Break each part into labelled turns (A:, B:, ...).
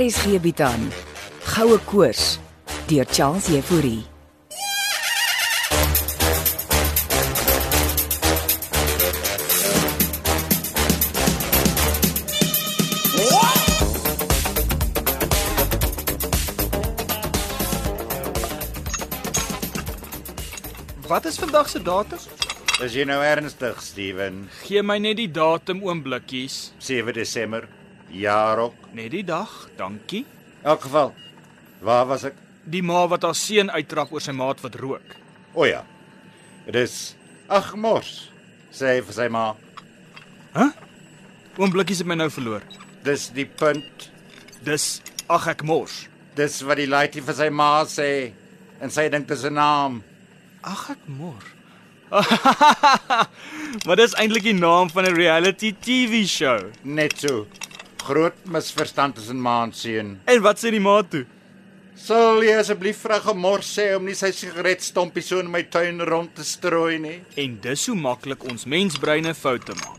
A: RSG bied aan Goue Koors deur Charles Euphorie.
B: Wat is vandag se datum?
C: Is jy nou ernstig, Steven?
B: Gee my net die datum oomblikkies.
C: 7 Desember, jaarop.
B: Net die dag, dankie.
C: In elk geval, waar was ek?
B: Die ma wat haar seun uittrap oor sy maat wat rook.
C: O ja. Dit is ag mors, sê hy vir sy ma.
B: Oomblikkies het my nou verloor.
C: Dis die punt.
B: Dis ag ek mors.
C: Dis wat die laaitie vir sy ma sê en sy dink dis 'n naam.
B: Ag ek mors. maar dis eintlik die naam van 'n reality TV show.
C: Net so. Groot misverstand tussen ma en seun.
B: En wat sê die ma toe?
C: Sal jy asseblief vra gemors sê om nie sy sigaretstompies so in my tuin rond te strooi nie?
B: En dis hoe maklik ons mensbreine foute maak.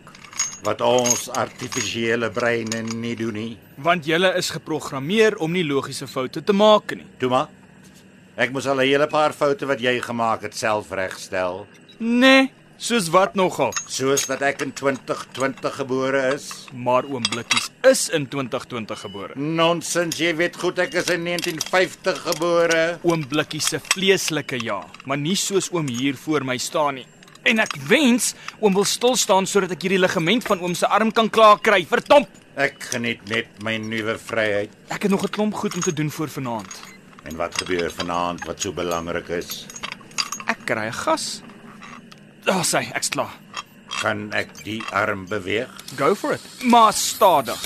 C: Wat ons artifisiële breine nie doen nie.
B: Want julle is geprogrammeer om nie logiese foute te maak nie.
C: Toe maar. Ek moes al 'n hele paar foute wat jy gemaak het self regstel,
B: Nee, soos wat nogal.
C: soos dat ek in 2020 gebore is.
B: Maar oomblikkies is in 2020 gebore.
C: Nonsens, jy weet goed ek is in 1950 gebore.
B: oom Blikkie se vleeslike ja, maar nie soos oom hier voor my staan nie. En ek wens oom wil stil staan sodat ek hierdie ligament van oom se arm kan klaar kry. Verdomp,
C: Ek geniet net my nuwe vryheid.
B: ek het nog 'n klomp goed om te doen voor vanaand.
C: En wat gebeur vanaand wat so belangrik is?
B: Ek kry 'n gas. Daar sê ek's klaar.
C: Kan ek die arm beweeg?
B: Go for it. Maar stadig.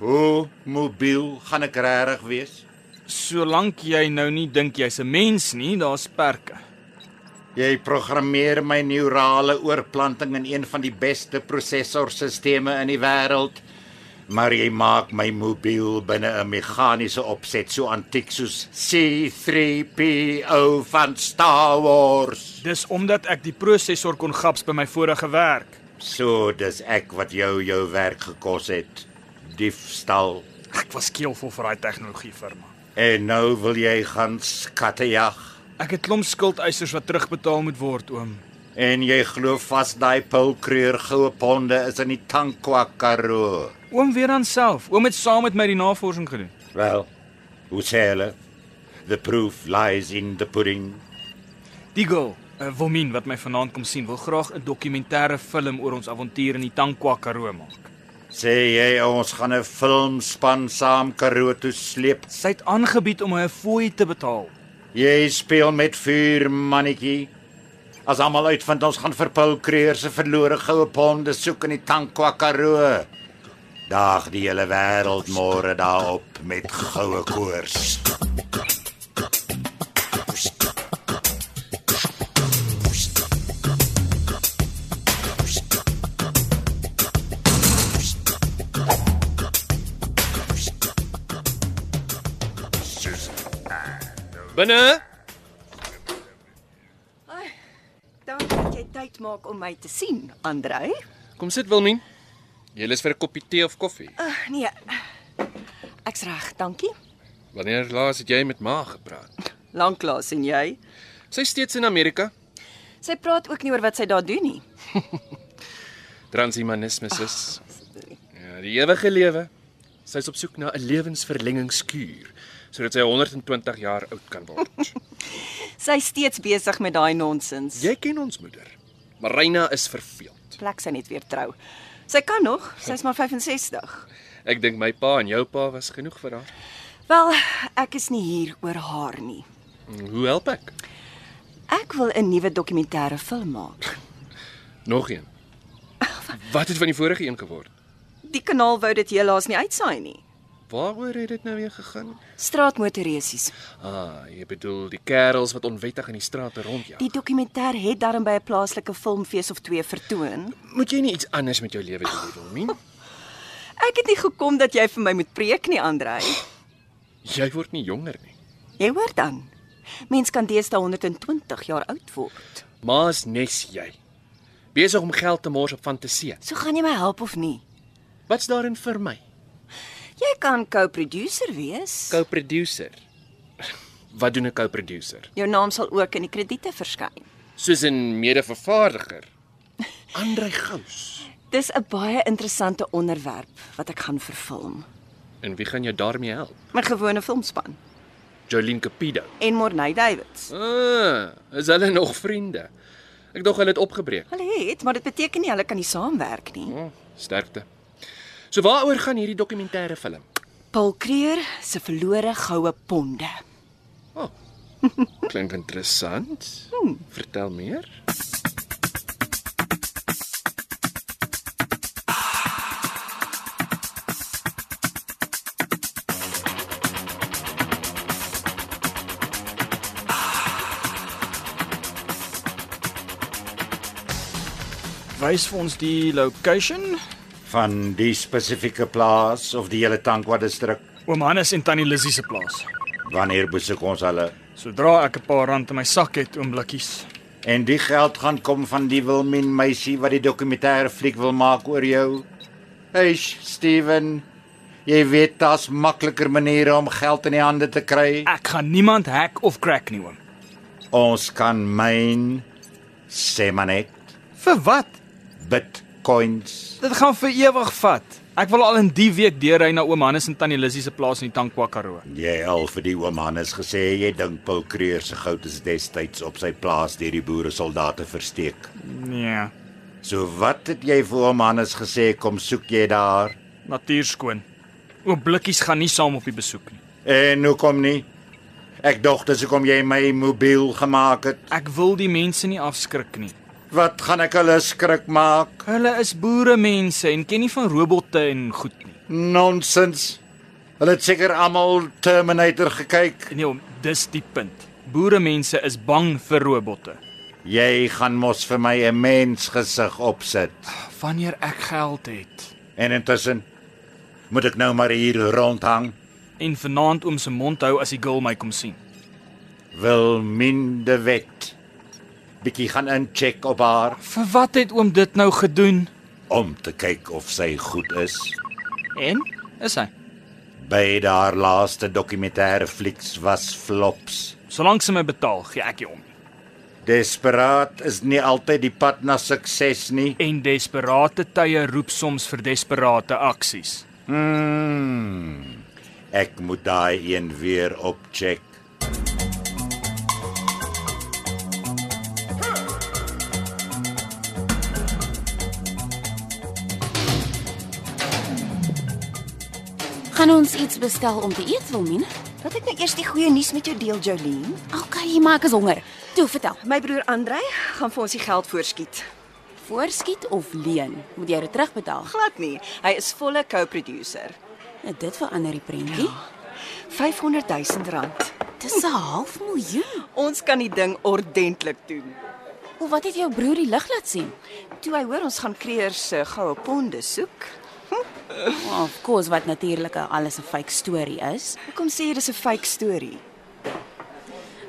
C: Hoe mobiel gaan ek regtig wees?
B: Solank jy nou nie dink jy's 'n mens nie, daar's perke.
C: Jy programmeer my neurale oorplanting in een van die beste prosessorstelsels in die wêreld, maar jy maak my mobiel binne 'n meganiese opset so antiek soos C3PO van Star Wars.
B: Dis omdat ek die prosessor kon gaps by my vorige werk.
C: So dis ek wat jou jou werk gekos het. Diefstal.
B: Ek was keelvol vir daai tegnologie firma.
C: En nou wil jy gaan skattejag
B: Ek het klomp skuldeisers wat terugbetaal moet word, oom.
C: en jy glo vas daai pulkreur goue ponde is in die Tankwa Karoo.
B: Oom weer aan self. Oom het saam met my die navorsing gedoen.
C: Wel, hoe sê hulle? The proof lies in the pudding.
B: Die girl, uh, Wilmien wat my vanaand kom sien, wil graag 'n dokumentêre film oor ons avontuur in die Tankwa Karoo maak.
C: Sê jy ons gaan 'n film span saam Karoo toe sleep.
B: Sy het aangebied om my 'n fooi te betaal.
C: Jy speel met vuur, mannetjie. As almal uitvind ons gaan vir Paul Creer se verlore goue ponde soek in die Tankwa Karoo. Daag die hele wêreld môre daarop met goue koers.
D: Binne.
E: Dan moet jy tyd maak om my te sien, Andrei.
D: Kom sit Wilmien. Jy lus vir 'n koppie tee of koffie?
E: Uh, nee. Ek's reg, dankie.
D: Wanneer laas het jy met ma gepraat?
E: Lanklaas en jy.
D: Sy steeds in Amerika.
E: Sy praat ook nie oor wat sy daar doen nie.
D: Transhumanisme is. Ja, die ewige lewe. Sy's op soek na 'n lewensverlengingskuur sodat sy 120 jaar oud kan word.
E: Sy's steeds besig met daai nonsens.
D: jy ken ons moeder. Marina is verveeld.
E: Plek sy net weer trou. Sy kan nog, sy's maar 65.
D: Ek dink my pa en jou pa was genoeg vir haar.
E: Wel, ek is nie hier oor haar nie.
D: Mm, Hoe help ek?
E: Ek wil 'n nuwe dokumentêre film maak.
D: Nog een. Wat het van die vorige een geword?
E: Die kanaal wou dit helaas nie uitsaai nie.
D: Waaroor het dit nou weer gegaan?
E: Straatmotorreisies.
D: Ah, jy bedoel die kerels wat onwettig in die strate ja. rondjaag.
E: Die dokumentêr het daarom by 'n plaaslike filmfees of twee vertoon.
D: Moet jy nie iets anders met jou lewe doen, Wilmien?
E: Ek het nie gekom dat jy vir my moet preek nie, Andrei.
D: Jy word nie jonger nie.
E: Jy hoor dan. Mens kan deesdae 120 jaar oud word.
D: Ma's nes jy. Besig om geld te mors op fantasie.
E: So gaan jy my help of nie?
D: Wat's daarin vir my?
E: Jy kan co-producer wees.
D: Co-producer. Wat doen 'n co-producer?
E: Jou naam sal ook in die krediete verskyn.
D: Soos 'n mede-vervaardiger. Andrei Gous.
E: Dis 'n baie interessante onderwerp wat ek gaan verfilm.
D: En wie gaan jou daarmee help?
E: My gewone filmspan
D: Jolene Capido.
E: en Morney Davids.
D: Ah, is hulle nog vriende? Ek dink hulle het opgebreek.
E: Hulle het, maar dit beteken nie hulle kan nie saamwerk nie.
D: Oh, sterkte. So waaroor gaan hierdie dokumentêre film?
E: Paul Creer se verlore goue ponde.
D: Oh. Klink interessant. Vertel meer.
B: Wys vir ons die location.
C: Van die spesifieke plaas of die hele Tankwa distrik.
B: Oom Hannes en tannie Lizzie se plaas.
C: Wanneer besoek ons hulle?
B: Sodra ek 'n paar rand in my sak het, oom Blikkies.
C: En die geld gaan kom van die Wilmin meisie wat die dokumentêre fliek wil maak oor jou. Hey, Steven. Jy weet daar's makliker maniere om geld in die hande te kry.
B: Ek gaan niemand hack of crack nie, oom.
C: Ons kan myn sê maar net
B: Vir wat?
C: bitcoins.
B: Dit gaan vir ewig vat. Ek wil al in die week deurry na oom Hannes en tannie Lizzie se plaas in die Tankwa Karoo.
C: Jy al vir die oom Hannes gesê jy dink Paul Creer se goud is destyds op sy plaas deur die boere soldate versteek.
B: Nee,
C: So wat het jy vir oom Hannes gesê kom soek jy daar?
B: natuurskoon. Oom Blikkies gaan nie saam op die besoek nie.
C: En hoekom Eh, nou nie? Ek dink dis hoekom jy my mobiel gemaak het.
B: Ek wil die mense nie afskrik nie.
C: Wat gaan ek hulle skrik maak?
B: Hulle is boere mense en ken nie van robotte en goed nie.
C: Nonsens. Hulle het seker almal Terminator gekyk.
B: Nee, oom, dis die punt. Boere mense is bang vir robotte.
C: Jy gaan mos vir my 'n mens gesig opsit.
B: Wanneer ek geld het
C: En intussen moet ek nou maar hier rondhang.
B: en vanaand oom se mond hou as die girl my kom sien.
C: Wil minde wet. Bietjie gaan incheck op haar
B: Vir wat het oom dit nou gedoen?
C: om te kyk of sy goed is.
B: En is hy?
C: By haar laaste dokumentêre flieks was flops.
B: Solank sy my betaal, gee ek hom.
C: Desperaat is nie altyd die pad na sukses nie.
B: En desperate tye roep soms vir desperate aksies.
C: Mm. Ek moet daai een weer opcheck.
F: Gaan ons iets bestel om te eet, Wilmien?
E: Laat ek nou eers die goeie nuus met jou deel, Jolene.
F: Okay, maar ek is honger. Toe, vertel.
E: My broer Andrej gaan vir ons die geld voorskiet.
F: Voorskiet of leen? Moet jy dit terugbetaal?
E: Glad nie. Hy is volle co-producer.
F: Nou dit verander die prentjie.
E: 500 000 rand.
F: Ja. Dis 'n half miljoen.
E: Ons kan die ding ordentlik doen.
F: Hoe wat het jou broer die lig laat sien?
E: Toe hy hoor ons gaan Kreer se goue ponde soek,
F: Oh, of course wat natuurlik alles 'n fake storie is.
E: hoekom sê jy dis 'n fake storie?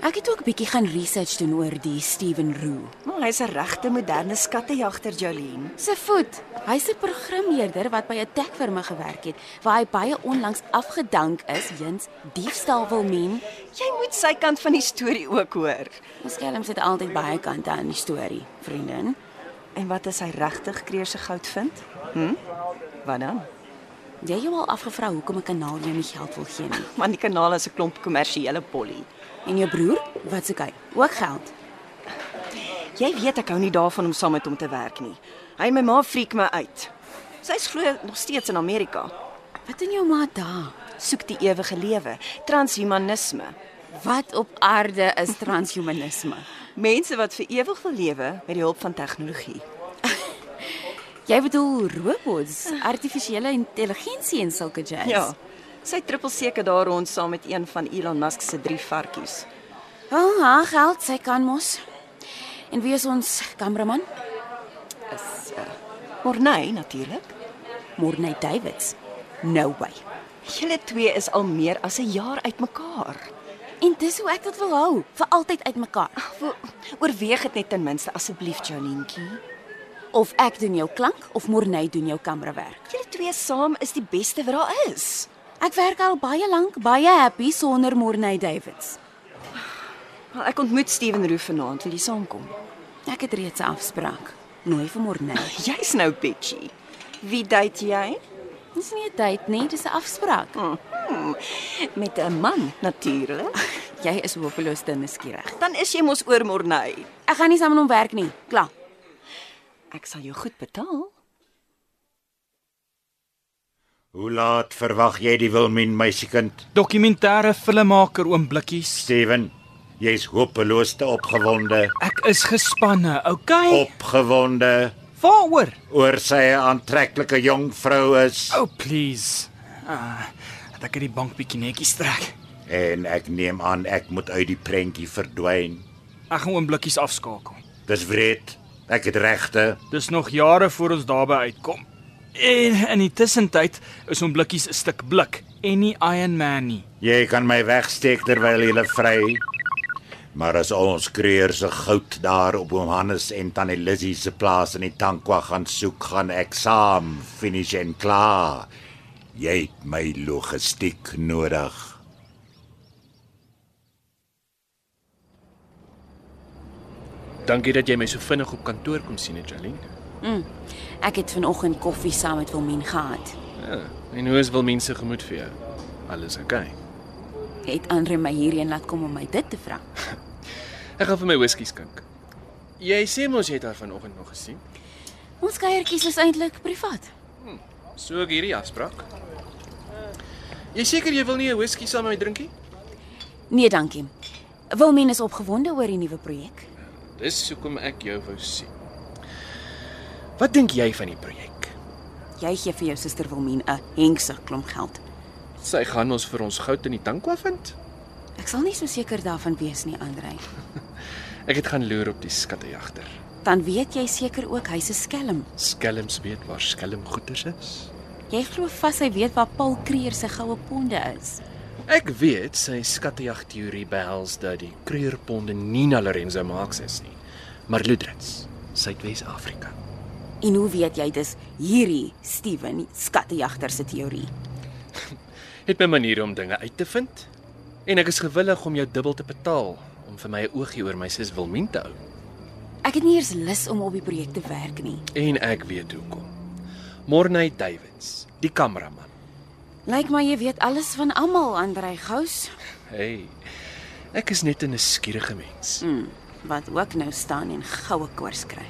F: Ek het ook bietjie gaan research doen oor die Steven Roo.
E: Maar hy's 'n regte moderne skattejagter, Jolene.
F: Sy voet. Hy's 'n programmeerder wat by 'n techfirma gewerk het waar hy baie onlangs afgedank is weens diefstal wil men.
E: Jy moet sy kant van die storie ook hoor.
F: Ons skelms het altyd baie kante aan die storie, vriendin.
E: En wat as hy regtig Kreer se goud vind? Hm? Wat dan?
F: Jy het jou al afgevra hoekom 'n kanaal jou nie geld wil gee nie.
E: Want die kanaal is 'n klomp kommersiële polly.
F: En jou broer, wat soek hy? Ook geld.
E: Jy weet ek hou nie daarvan om saam met hom te werk nie. Hy en my ma freak my uit. Sy's glo nog steeds in Amerika.
F: Wat doen jou ma daar?
E: Soek die ewige lewe, transhumanisme.
F: Wat op aarde is transhumanisme?
E: Mense wat vir ewig wil lewe met die hulp van tegnologie.
F: Jy bedoel robots, artifisiële intelligensie en sulke jazz.
E: Ja. Sy trippel seker daar rond saam met een van Elon Musk se drie varkies.
F: Wel, haar geld, sy kan mos. En wie is ons kameraman?
E: Is uh, Morney natuurlik.
F: Morney Davids. No way.
E: Julle twee is al meer as 'n jaar uitmekaar.
F: En dis hoe ek dit wil hou, vir altyd uitmekaar.
E: Wo- Oorweeg dit net ten minste asseblief, Jonientjie.
F: Of ek doen jou klank of Morney doen jou kamerawerk.
E: Julle twee saam is die beste wat daar is.
F: Ek werk al baie lank baie happy sonder Morney Davids.
E: Wel, ek ontmoet Steven Roof vanaand, wil jy saamkom?
F: Ek het reeds 'n afspraak. Nooi vir Morney.
E: Jy's nou bitchy. Wie date jy?
F: Dis nie 'n date nie, dis 'n afspraak.
E: Hmm, met 'n man natuurlik.
F: Jy is hopeloos te nuuskierig.
E: Dan is jy mos oor Morney.
F: Ek gaan nie saam met hom werk nie. Klaar.
E: Ek sal jou goed betaal.
C: Hoe laat verwag jy die Wilmien meisiekind?
B: Dokumentêre filmmaker oom Blikkies.
C: Steven, jy's hopeloos te opgewonde.
B: Ek is gespanne, okay?
C: Opgewonde
B: Waaroor?
C: oor sy aantreklike jong vrou is
B: Oh please. Ah, dat ek uit die bank bietjie netjies trek.
C: en ek neem aan ek moet uit die prentjie verdwyn.
B: Ek gaan oom Blikkies afskakel.
C: Dis wreed. Ek het regte.
B: Dis nog jare voor ons daarby uitkom. En in die tussentyd is oom Blikkies 'n stuk blik en nie Iron Man nie.
C: Jy kan my wegsteek terwyl jy vry. Maar as ons kreer se goud daar op oom Hannes en tannie Lizzie se plaas in die Tankwa gaan soek, gaan ek saam finish en klaar. Jy het my logistiek nodig.
D: Dankie dat jy my so vinnig op kantoor kom sien, hè, Jolene.
F: Ek het vanoggend koffie saam met Wilmien gehad.
D: Ja, en hoe is wel mense gemoed vir jou? Alles oukei. Okay.
F: Het Andre my hierheen laat kom om my dit te vra.
D: Ek gaan vir my whiskies kink. Jy sê mos jy het haar vanoggend nog gesien.
F: Ons kuiertjies is eintlik privaat.
D: So ek hierdie afspraak. Jy seker jy wil nie 'n whisky saam met my drinkie?
F: Nee, dankie. Wilmien is opgewonde oor die nuwe projek.
D: Dis hoekom ek jou wou sien. Wat dink jy van die projek?
F: Jy gee vir jou suster Wilmien 'n henkse klomp geld.
D: Sy gaan ons vir ons goud in die tankwa vind.
F: Ek sal nie so seker daarvan wees nie, Andre.
D: Ek het gaan loer op die skattejagter.
F: Dan weet jy seker ook hy's 'n skelm.
D: Skelms weet waar skelmgoeders is.
F: Jy glo vas hy weet waar Paul Kreer se goue ponde is.
D: Ek weet sy skattejagteorie behels dat die kreurponde nie na Lorenzo Marx is nie, maar Ludwits, Suidwes-Afrika.
F: En hoe weet jy dis hierdie Steven skattejagter se teorie?
D: Het my maniere om dinge uit te vind en ek is gewillig om jou dubbel te betaal om vir my 'n oogie oor my sis Wilmien te hou.
F: Ek het nie eers lus om op die projek te werk nie.
D: En ek weet hoekom. Morney Davids, die kameraman.
F: Lyk my jy weet alles van almal, Andrei Gous,
D: Hey. Ek is net 'n nuuskierige mens.
F: wat ook nou staan en goue koors kry.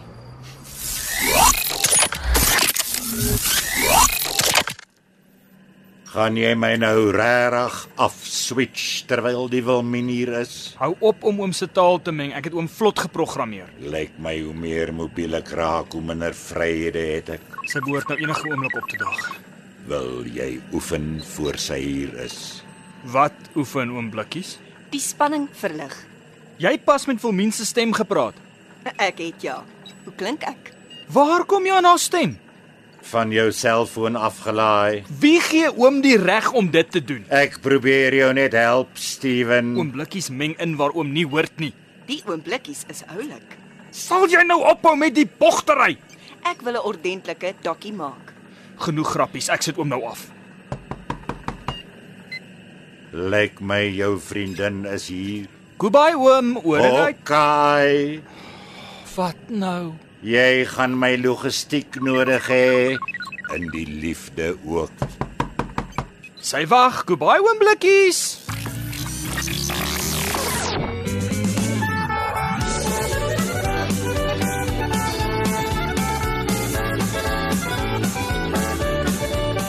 C: Gaan jy my nou regtig afswitch terwyl die Wilmien hier is?
B: Hou op om oom se taal te meng. Ek het oom vlot geprogrammeer.
C: Lyk my hoe meer mobiel ek raak, hoe minder vryhede het ek.
B: Sy behoort nou enige oomblik op te daag.
C: Wil jy oefen voor sy hier is?
B: Wat oefen oom Blikkies?
E: Die spanning verlig.
B: Jy pas met Wilmien se stem gepraat.
E: Ek het ja. Hoe klink ek?
B: Waar kom jy aan haar stem?
C: Van jou selfoon afgelaai.
B: Wie gee oom die reg om dit te doen?
C: Ek probeer jou net help, Steven.
B: Oom Blikkies meng in waar oom nie hoort nie.
E: Die oomblikkies is oulik.
B: Sal jy nou ophou met die bogtery?
E: Ek wil 'n ordentlike dokkie maak.
B: Genoeg grappies. Ek sit oom nou af.
C: Lyk my jou vriendin is hier.
B: Goodbye oom. Oor en uit.
C: Okay.
B: Vat nou.
C: Jy gaan my logistiek nodig hê in die liefde ook.
B: Sy wag. Goodbye oom Blikkies.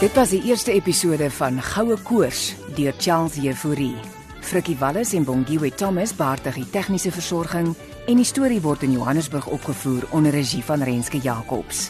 A: Dit was die eerste episode van Goue Koors deur Charles Jefouri. Frikkie Wallis en Bongiwe Thomas beheerdig die tegniese versorging en die storie word in Johannesburg opgevoer onder regie van Renske Jacobs.